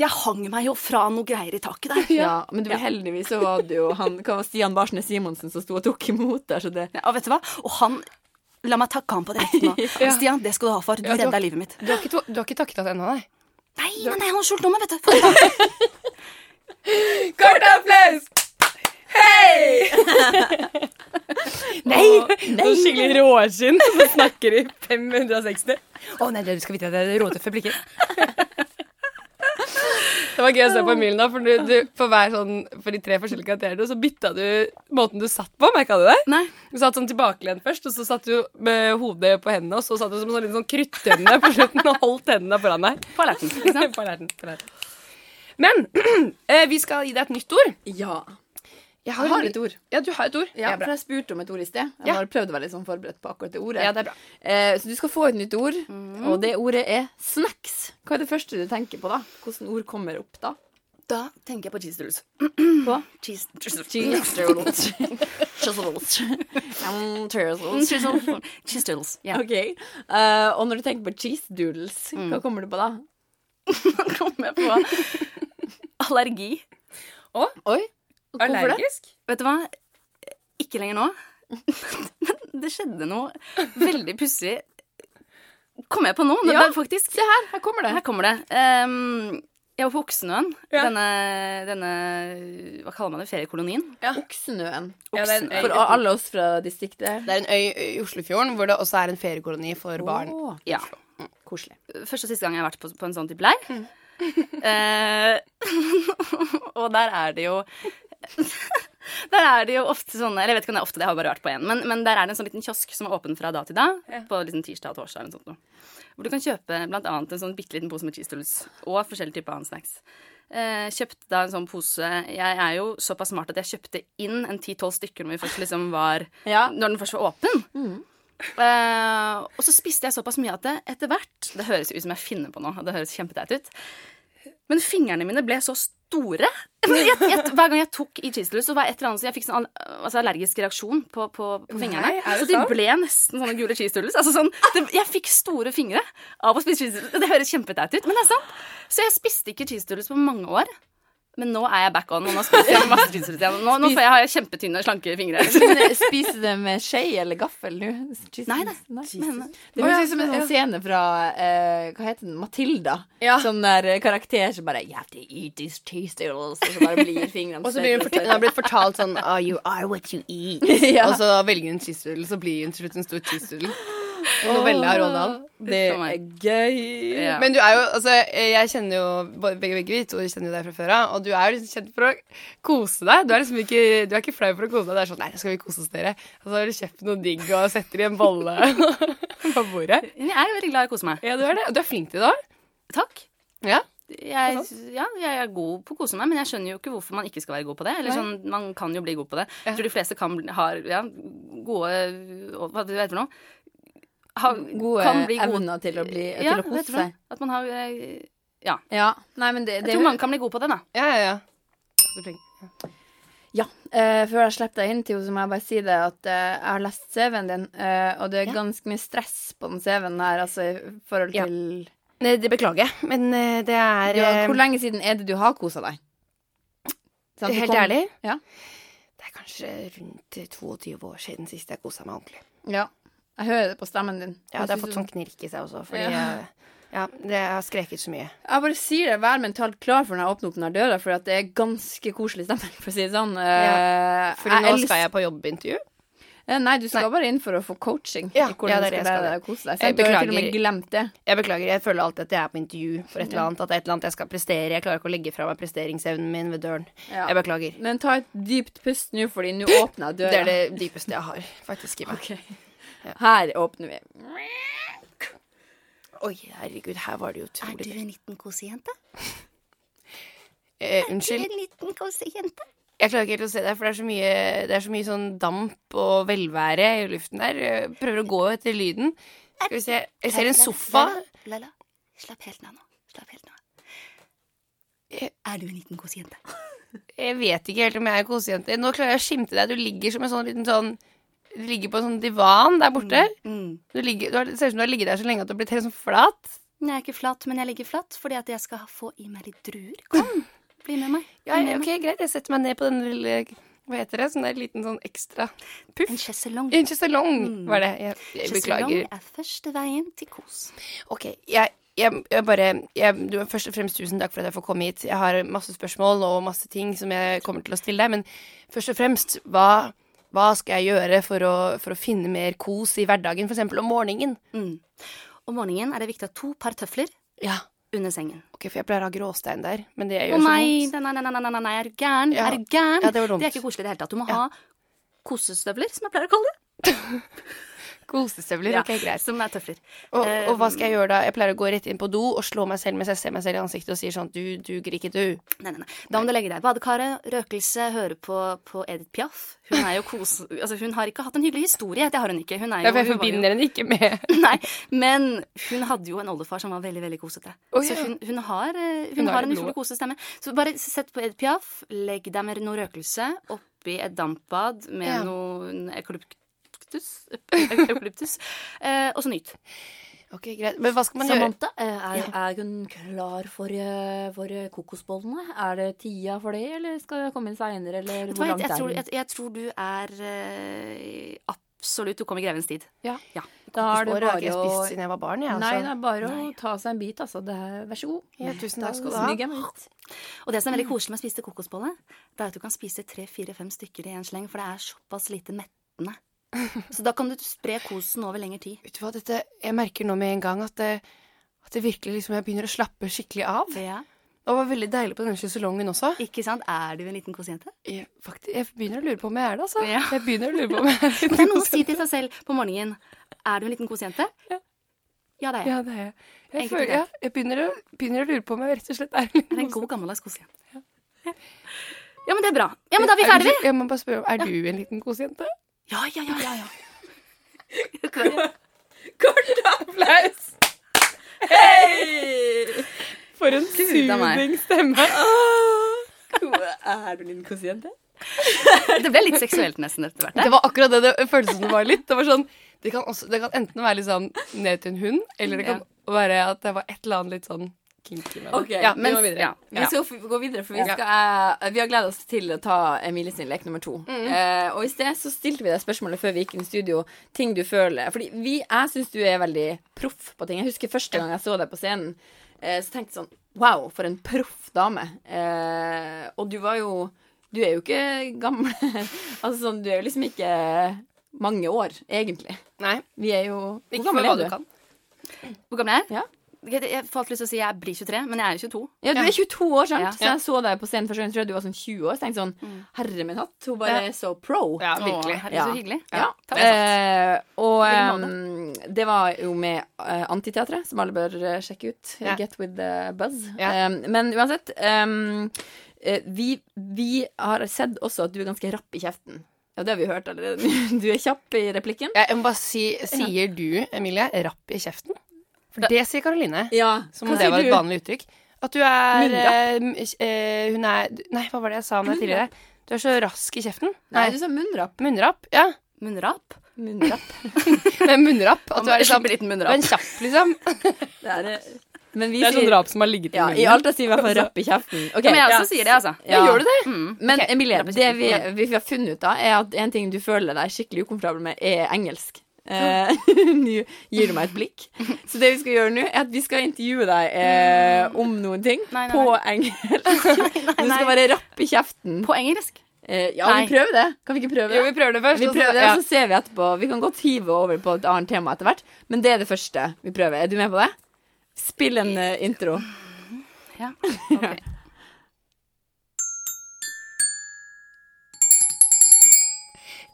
jeg hang meg jo fra noe greier i taket der. Ja, men du, heldigvis så var det jo han Hva var Stian Barsnes Simonsen som sto og tok imot der, så det Ja, og vet du hva? Og han La meg takke han på *laughs* direkten nå. Stian, det skal du ha for. Du Ja, det var- redda livet mitt. Du har ikke, to- du har ikke takket oss ennå, nei? Nei, nei, nei, han har skjult nummer, vet du. Få det. Kort applaus! Hei! *laughs* nei! Sånn skikkelig råskinn som snakker i 560. Å nei, dere skal vite at det er råtøffe blikker. Det var gøy å se på Emilen, da, for, du, du, for, hver sånn, for de tre forskjellige karakterene så bytta du måten du satt på. Merka du det? Nei. Du satt sånn tilbakelent først, og så satt du med hodet på hendene, og så satt du som sånn, litt sånn kryttønne på slutten og holdt hendene foran deg. På alerten. *laughs* på alerten, på alerten. Men *clears throat* eh, vi skal gi deg et nytt ord. Ja. Jeg Jeg har et ord. Ja, du har et ord. Ja, Ja, for bra. jeg spurte om et ord i sted. Jeg Ja. har prøvd å være litt sånn forberedt på akkurat det Mhm. ordet. Ja, det er bra. Eh, så du skal få et nytt ord, og det ordet er snacks. Hva er det første du tenker på da? Hvilke ord kommer opp da? Da tenker jeg på cheese doodles. På? Cheese Cheese doodles. Cheese doodles. Mm, cheese *laughs* doodles. Cheese doodles. Cheese doodles. Ja. Ok. Eh, og når du tenker på cheese doodles, hva kommer du på da? Kommer jeg på allergi. Oi, hvorfor det? Allergisk? Vet du hva? Ikke lenger nå. Men det skjedde noe veldig pussig Kom jeg på nå, men Ja. det er faktisk. Se her, her kommer det. Her kommer det. Ehm, jeg var på Oksenøen. Ja. Denne, denne Hva kaller man det? Feriekolonien? Oksenøen. Ja, det er en øy. For alle oss fra distriktet. Det er en øy i Oslofjorden hvor det også er en feriekoloni for barn. Åh, Ja. koselig. Første og siste gang jeg har vært på, på en sånn type leir. *laughs* Eh, *laughs* og der er det jo *laughs* Der er det jo ofte sånne Eller jeg vet ikke om det er ofte, det har jeg bare vært på én. Men, men der er det en sånn liten kiosk som er åpen fra da til da. På liksom tirsdag og torsdag eller noe sånt. noe. Hvor du kan kjøpe blant annet en sånn bitte liten pose med cheese doodles. Og forskjellige typer annen snacks. Eh, kjøpte da en sånn pose Jeg er jo såpass smart at jeg kjøpte inn en 10-12 stykker når, vi først liksom var, Ja. når den først var åpen. Mm. Eh, og så spiste jeg såpass mye at det etter hvert Det høres jo ut som jeg finner på noe, og det høres kjempeteit ut. Men fingrene mine ble så store. *laughs* Men Jeg, jeg, hver gang jeg tok i cheeselus, så var et eller annet så jeg fikk sånn al- altså allergisk reaksjon på, på, på fingrene. Nei, er det så de sant? ble nesten sånne gule cheeselus. Altså sånn, det, jeg fikk store fingre av å spise cheeselus. Det høres kjempeteit ut, men det er sant. Så jeg spiste ikke cheeselus på mange år. Men nå er jeg back on. og Nå spiser jeg masse cheeselus igjen. Nå, nå får jeg, har jeg kjempetynne, slanke fingre. Men eh, spiser du det med skje eller gaffel nå? Cheese- Nei, nei. Men- eh, Det høres ut som en sånn scene fra eh, Hva heter den? Matilda. Ja. Sånn der eh, karakter som bare You have to eat these cheese doodles. Og så bare blir *laughs* fingrene Og så blir hun, fortalt, hun har blitt fortalt sånn ah, You are what you eat. *laughs* *laughs* Ja. Og så velger hun cheese doodle, så blir hun til slutt en stor cheese doodle. *gasps* Novelle av Rådal. Det er gøy. Ja. Men du er jo Altså, jeg kjenner jo både- begge, begge vi to kjenner jo deg fra før av, og du er jo liksom kjent for å kose deg. Du er liksom ikke Du er ikke flau for å kose deg. Det er sånn Nei, nå skal vi kose oss, dere. Og så har du kjøpt noe digg og setter i en bolle *laughs* på bordet. Men jeg er jo veldig glad i å kose meg. Ja, du er det. Og du er flink til det òg. Takk. Ja. Jeg, ja, jeg er god på å kose meg, men jeg skjønner jo ikke hvorfor man ikke skal være god på det. Eller sånn, Man kan jo bli god på det. Jeg tror de fleste kan bli, har ja, gode Hva heter det for noe? Ha- Gode kan bli gode- evner til å bli Ja, til å hva heter kose det for noe? seg. At man har eh, Ja. Ja. Nei, men det, Jeg det tror mange kan bli gode på det, da. Ja, ja, ja. Så flink. Ja. eh, før jeg slipper deg inn, Theo, så må jeg bare si det at eh, jeg har lest CV-en din, eh, og det er ganske mye stress på den CV-en her, altså i forhold Ja. til Nei, Eh, det beklager jeg, men eh, det er ja, eh, Hvor lenge siden er det du har kosa deg? Sant, du Helt kom- ærlig? Ja. Det er kanskje rundt 22 år siden sist jeg kosa meg ordentlig. Ja. Jeg hører det på stemmen din. Ja, det har Jeg fått synes sånn knirk i seg også, fordi Ja. jeg, ja, det, jeg har skreket så mye. du- Jeg bare sier det, vær mentalt klar for når jeg åpner opp den her døra, for at det er ganske koselig stemning, for å si det sånn. Eh, Fordi nå skal jeg på jobbintervju. Eh, Nei, du skal bare inn for å få coaching. Ja, i hvordan ja, det er du det jeg skal skal. lære deg å kose deg. Så Jeg jeg har til og med beklager. glemt det. Jeg beklager, jeg føler alltid at jeg er på intervju for et eller annet. At det er et eller annet jeg skal prestere. Jeg klarer ikke å legge fra meg presteringsevnen min ved døren. Ja. Jeg beklager. Men ta et dypt pust nå, fordi *laughs* nå åpner jeg Det døra. er det dypeste jeg har faktisk i meg. Her åpner vi. Oi, herregud, her var det utrolig en liten kosejente? eh, Unnskyld. liten kosejente? Jeg klarer ikke helt å se deg, for det er så mye, det er så mye sånn damp og velvære i luften der. Jeg Prøver å gå etter lyden. Skal vi se. Jeg ser en sofa. Lala, slapp helt ned nå. Slapp helt ned. Er du en liten kosejente? Jeg vet ikke helt om jeg er kosejente. Nå klarer jeg å skimte deg. Du ligger som en sånn liten sånn Du ligger på en sånn divan der borte. Mm. Du ligger, du har, det ser ut som du har ligget der så lenge at du har blitt helt sånn flat. Jeg er ikke flat, men jeg ligger flat fordi at jeg skal ha- få i meg litt druer. Kom, bli med meg. Ja, Bli med ok, greit. Jeg setter meg ned på den lille Hva heter det? Sånn der liten sånn ekstra Eh, meg. En sjeselong. Ikke salong, Mm. var det. Jeg, jeg Sjeselong beklager. er første veien til kos. Ok, jeg, jeg, jeg bare jeg, du, Først og fremst tusen takk for at jeg får komme hit. Jeg har masse spørsmål og masse ting som jeg kommer til å stille deg, men først og fremst, hva, hva skal jeg gjøre for å, for å finne mer kos i hverdagen, f.eks. om morgenen? Mm. Om morgenen er det viktig å ha to par tøfler Ja, under sengen. ok, for jeg pleier å ha gråstein der, men det Å gjør så nei, vondt. nei, nei, nei, nei, nei, nei, er du gæren? Ja. Er du gæren? Ja, det var dumt. er ikke koselig i det hele tatt. Du må ha kosestøvler, som jeg pleier å kalle det. Kosestøvler, Ja, ok, greit. Som er tøfler. Og, og hva skal jeg gjøre da? Jeg pleier å gå rett inn på do og slå meg selv mens jeg ser meg selv i ansiktet og sier sånn Du duger ikke, du. Nei, nei, nei. Da må du legge deg i badekaret, røkelse, høre på, på Edith Piaf. Hun er jo kos... *laughs* Altså, hun har ikke hatt en hyggelig historie, det har hun ikke. Hun er jo Ja, for jeg hun var jo- forbinder henne ikke med *laughs* Nei, men hun hadde jo en oldefar som var veldig veldig kosete. Å, ja. Så hun, hun har, eh, hun Hun har har det en blodet. utrolig kosete stemme. Så bare sett på Ed Piaf, legg deg med noe røkelse oppi et dampbad med Ja. noe eukalyptus, *laughs* eukalyptus eh, og så nyt. Ok, greit. Men hva skal man gjøre? Samantha, eh, er, er hun klar for, eh, for eh, kokosbollene? Er det tida for det, eller skal jeg komme inn seinere, eller Vet du hvor hva, langt jeg, er jeg, tror, hun? jeg, jeg tror du er eh, absolutt Du kom i grevens tid. Ja. ja. Da er det Kokosboller har ikke bare jeg å spist siden jeg var barn, jeg. Nei, det Altså. er bare å ta seg en bit, altså. Det er, vær så god. Ja, tusen takk skal du Da ha. smyger jeg *laughs* meg ut. Og det som er veldig koselig med å spise kokosbolle, det er at du kan spise tre-fire-fem stykker i en sleng, for det er såpass lite mettende. Så da kan du spre kosen over lengre tid. Vet du hva, dette Jeg merker nå med en gang at det, at det virkelig liksom Jeg begynner å slappe skikkelig av. Ja. Det var veldig deilig på denne sjeselongen også. Ikke sant? Er du en liten kosejente? Jeg, faktisk, jeg begynner å lure på om jeg er det, altså. Ja. Jeg *laughs* begynner å lure på om jeg er Det er noe å si til seg selv på morgenen. Er du en liten kosejente? Ja, det er jeg. Ja, det er jeg. Jeg, Enkelt og føler, ja, greit. jeg begynner, å, begynner å lure på om jeg rett og slett er en Det er en god, gammeldags kosejente. Ja, men det er bra. Ja, men da er Er vi du- ferdige, vi. Jeg må bare spørre om, Er du en liten kosejente? Ja, ja, ja, ja, ja. Applaus! For en Gud a meg. suging stemme. Er du liten kosejente? Det ble litt seksuelt nesten etter hvert. Det var akkurat det det føltes som det var litt. Det var sånn Det kan, også, det kan enten være liksom ned til en hund, eller det kan være at det var et eller annet litt sånn kinky med det. Ok, ja, mens- vi må videre. ja. Vi skal f- gå videre, for vi, skal, eh, vi har gledet oss til å ta Emilie sin lek nummer to. Mm. Eh, og i sted så stilte vi deg spørsmålet før vi gikk inn i studio. Ting du føler Fordi vi, jeg syns du er veldig proff på ting. Jeg husker første gang jeg så deg på scenen, eh, så tenkte jeg sånn Wow, for en proff dame. Eh, og du var jo Du er jo ikke gammel. *laughs* altså sånn, du er jo liksom ikke mange år, egentlig. Nei, Vi er jo ikke for hva du kan. Hvor gammel er jeg? Ja. Jeg jeg får alltid lyst til å si jeg blir 23, men jeg er jo 22. Ja, du er 22 år, sant? Ja. Så jeg så deg på scenen første gang, jeg tror jeg du var sånn 20 år. Så tenkte jeg sånn, herre min hatt, hun bare er så pro. Ja, Å, virkelig. herregud, Ja. så hyggelig. Ja. takk. Eh, og Dere ehm, det var jo med eh, Antiteatret, som alle bør eh, sjekke ut. Ja. Get with the buzz. Ja. Eh, men uansett, ehm, eh, vi, vi har sett også at du er ganske rapp i kjeften. Ja, det har vi hørt allerede. *laughs* Du er kjapp i replikken. Jeg må bare si Sier du, Emilie, rapp i kjeften? For det sier Karoline. Ja, Som om det var et vanlig uttrykk. At du er eh, m- eh, Hun er Nei, hva var det jeg sa om deg tidligere? Du er så rask i kjeften. Nei, du sa munnrapp. Munnrapp. Ja. Munnrap? Munnrapp. Nei, munnrapp. At du er liksom Slipper litt Du er munnrap. en kjapp, liksom. Det er, eh, men vi Det er sånn sier drap som har ligget i ja, I munnen. Alta sier vi i hvert fall rapp i kjeften. Ok, Ja, men jeg ja. også sier det, altså. Ja. Gjør du det? Mm. Men Ok, Emilie, rappet det vi, kjeften, vi har funnet ut av, er at en ting du føler deg skikkelig ukomfortabel med, er engelsk. Eh, *laughs* Nå gir du meg et blikk. Så det vi skal gjøre nå, er at vi skal intervjue deg eh, om noen ting Nei, nei, på *laughs* engelsk. Du skal nei. være rapp i kjeften. På engelsk? Eh, ja, Nei. vi prøver det. Kan vi ikke prøve Jo, det? vi prøver det først. Vi og så- prøver det, ja. så ser vi etterpå. Vi kan godt hive over på et annet tema etter hvert, men det er det første vi prøver. Er du med på det? Spill en eh, intro. *laughs* Ja. ok.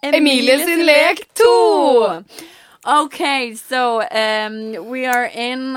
Emilie sin lek to! Okay, so um, we are in um,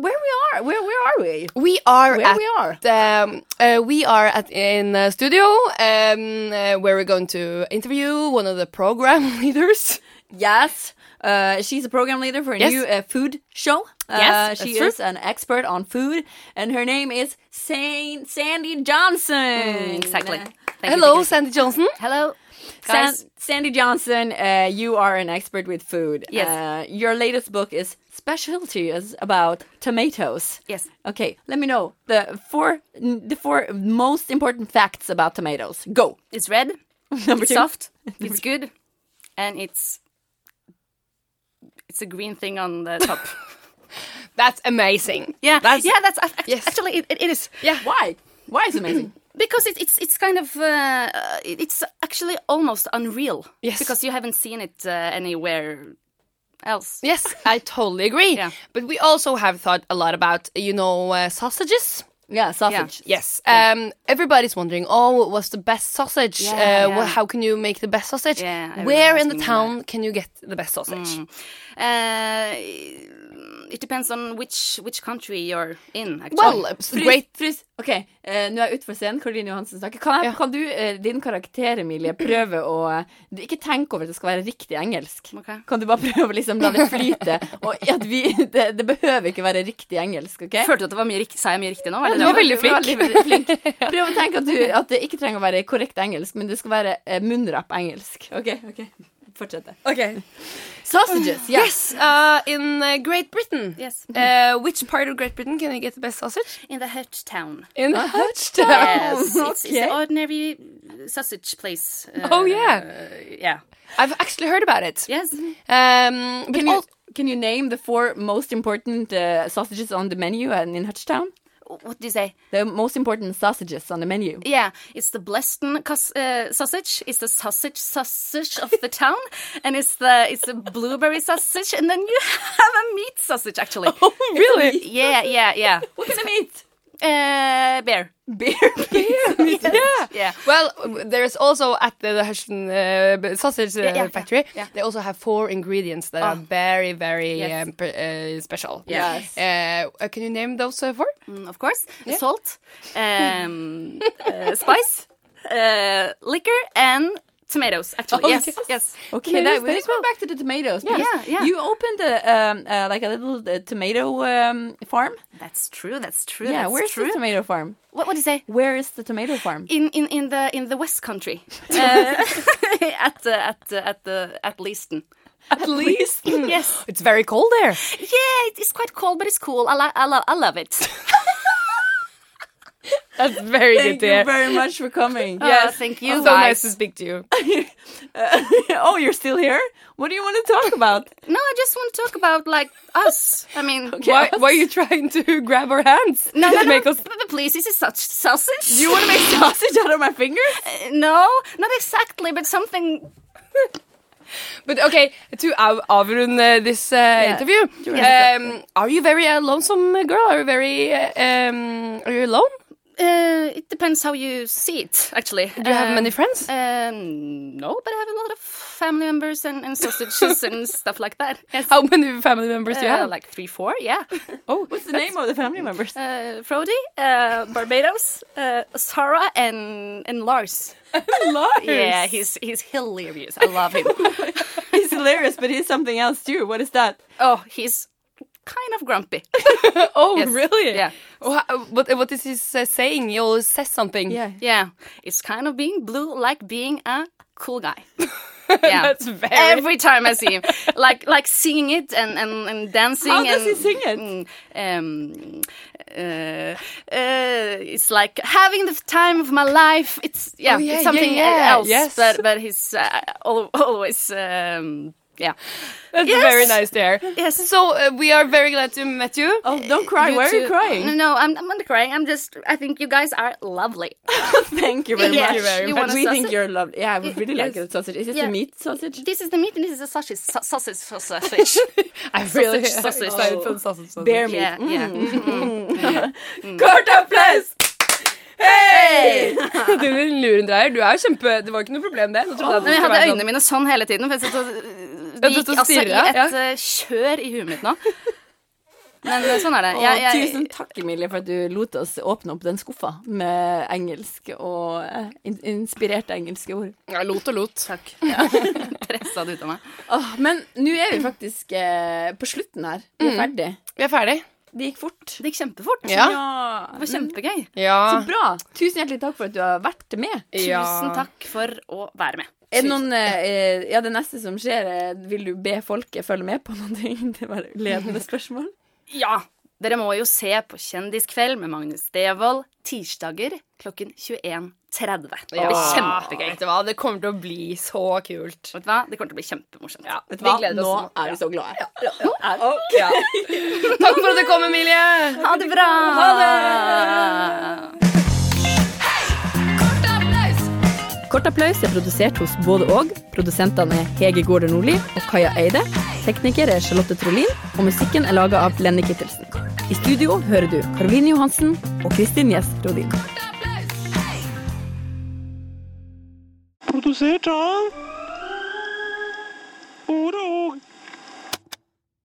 where we are. Where where are we? We are Where at we are? um, uh, we are at in a studio um, uh, where we're going to interview one of the program *laughs* leaders. Yes. Uh, she's a program leader for a Yes. new uh, food show. uh, Yes, she that's true. is an expert on food, and her name is Saint Sandy Johnson. Exactly. Thank you, Hello, thank you. Sandy Johnson. Hello. San- Guys. Sandy Johnson, uh, you are an expert with food. Yes. Uh, your latest book is Specialty is about tomatoes. Yes. Okay, let me know the four n- the four most important facts about tomatoes. Go. *laughs* It's red. Number It's soft. It's good. And it's It's a green thing *laughs* on the top. That's amazing. Yeah, That's- yeah, that's act- act- Yes. actually it, it it is Yeah. Why? Why is it amazing? because it, it's it's kind of uh, uh, it's actually almost unreal. Yes. because you haven't seen it uh, anywhere else. Yes, I totally agree. Yeah. But we also have thought a lot about, you know, uh, sausages. yeah, sausage. Yes. Um, everybody's wondering, oh, what's the best sausage? Yeah, uh, wha- yeah. how can you make the best sausage? Yeah, everyone Where in the asking me town can you get the best sausage? Mm. Uh, it depends on which which country you're in. Actually. Well, it's Frys, great. frys. OK, eh, nå er jeg utenfor scenen. Karoline Johansen snakker. Kan, jeg, Ja. kan du, eh, din karakter, Emilie, prøve å du, Ikke tenk over at det skal være riktig engelsk. Ok. Kan du bare prøve å liksom la det flyte? *laughs* Og at vi, det, det behøver ikke være riktig engelsk, OK? følte du at det var mye rikt- sa jeg mye riktig nå? Var det du *laughs* det? var veldig flink. veldig flink. Prøv å tenke at, du, at det ikke trenger å være korrekt engelsk, men det skal være eh, munnrapp engelsk. OK, ok. Fortsett. *laughs* Okay. Sausages. Yeah. Yes, uh, in uh, Great Britain. Yes. Uh, which part of Great Britain can you get the best sausage? in the Hutch town. In Hutchtown. Yes, it's, it's okay. the ordinary sausage place. Uh, Oh, yeah. uh, yeah. I've actually heard about it. Yes. Um, but Can you, al- can you name the four most important uh, sausages on the menu and in Hutchtown? What do you say? The most important sausages on the menu. Yeah, it's the Bleston cus- uh, sausage. It's the sausage sausage of the town, *laughs* and it's the it's the blueberry sausage, Oh, *laughs* and then you have a meat sausage actually. Oh, really? Yeah, yeah, yeah. What kind of meat? Eh, bear. *laughs* Beer pizza. Yeah. Well, there is also at the, the Hessian uh, b- sausage uh, Yeah, yeah, factory, yeah. Ah. they also have four ingredients that are very, very um, pr- uh, special. Yes. Uh, uh, can you name those uh, *laughs* four? Mm, of course. Salt, um, uh, spice, uh, liquor, and tomatoes, actually. Oh, yes. yes. yes. Okay, that, we very just went back to the tomatoes. Yeah. because Yeah, yeah. You opened a um, uh, like a little uh, tomato um, farm. That's true. That's true. yeah, that's where's true. the tomato farm? What would you say? Where is the tomato farm? In, in, in the in the West Country, uh, at the at the at the at Leaston. At least. yes, *laughs* It's very cold there. yeah, it- it's quite cold, but it's cool. I lo- I, lo- I love it. That's very good Thank to you hear. very much for coming. *laughs* Yes, Oh, thank you. so guys. nice to speak to *laughs* you. *laughs* oh, you're still here? What do you want to talk about? No, I just want to talk about like us. I mean, *laughs* Why, why are you trying to *laughs* grab our hands No, *laughs* no, to no. make us? p- p- Please, this is such sausage. You want to make sausage out of my fingers? *laughs* No, not exactly, but something. But okay, to av- avrunde this uh, interview, um, are you very uh, lonesome uh, girl? Are you very uh, um, are you alone? Uh, it depends how you see it, actually. Uh, Do you have many friends? Um, no, but I have a lot of family members and, and sausages and stuff like that. Yes. How many family members do you Uh, have? like three, four, *laughs* yeah. Oh, what's the name of the family *laughs* members? Uh, Frody, uh, Barbados, uh, Sarah, and and Lars. Lars. Yeah, he's he's hilarious. I love him. *laughs* he's hilarious, but he's something else too. What is that? oh, he's kind of grumpy. oh, Yes. really? Yeah. Wha- Oh, what, what is he uh, saying? He always says something. Yeah, it's kind of being blue, like being a cool *laughs* guy. Yeah, That's very- Every time I see him, like like singing it and and, and dancing. How does and, he sing it? Mm, Um, uh, uh, it's like having the time of my life. It's yeah, Oh, yeah, it's something yeah, yeah. else. Yes. But but he's uh, al- always um, yeah. That's Yes. very nice to hear. Yes. So uh, we are very glad to meet you. Oh, don't cry. Why are you too- crying? No, no, I'm, I'm not crying. I'm just. I think you guys are lovely. Thank you very Yeah, much. you very You much. want a We think sausage? you're lovely. Yeah, we really like the sausage. Is it Yeah. the meat sausage? This is the meat, and this is the sausage. sa- Sausage, *laughs* sausage. *laughs* I really sausage. excited for the sausage, sausage. Bear meat. yeah, yeah. Mm. Kort applaus! *laughs* du luren dreier. Du er jo kjempe Det var ikke noe problem, det. Nå trodde jeg at Men det skulle jeg hadde være sånn. øynene mine sånn hele tiden. For jeg satt og, Ja, det du gikk satt og altså i stirret, et ja. eh, kjør i huet mitt nå. Men eh, sånn er det. Og Jeg, jeg, tusen takk, Emilie, for at du lot oss åpne opp den skuffa med engelsk og eh, in inspirerte engelske ord. Ja, lot og lot. Takk. *laughs* pressa det ut av meg. Åh, men nå er vi faktisk eh, på slutten her. Vi er ferdig. Vi er ferdig. Mm. Det gikk fort. Det gikk kjempefort. Ja. Det var kjempegøy. Ja. Så bra. Tusen hjertelig takk for at du har vært med. Ja. Tusen takk for å være med. Er det noen eh, eh, Ja, det neste som skjer, eh, vil du be folket følge med på noen ting? *laughs* Det var et ledende spørsmål. Ja! Dere må jo se på Kjendiskveld med Magnus Devold tirsdager klokken 21.30. Det blir kjempegøy. Vet du hva, det kommer til å bli så kult. Vet du hva? Det kommer til å bli kjempemorsomt. Vet du Hva? hva? Nå er vi så glade. Ja. Takk for at du kom, Emilie. Ha det bra! Ha det! Kort applaus er produsert hos både og. Produsentene er Hege Gaarder Nordli og Kaja Eide. Tekniker er Charlotte Trolin, og musikken er laga av Lenny Kittelsen. I studio hører du Karoline Johansen og Kristin Gjess Rodin. produziert av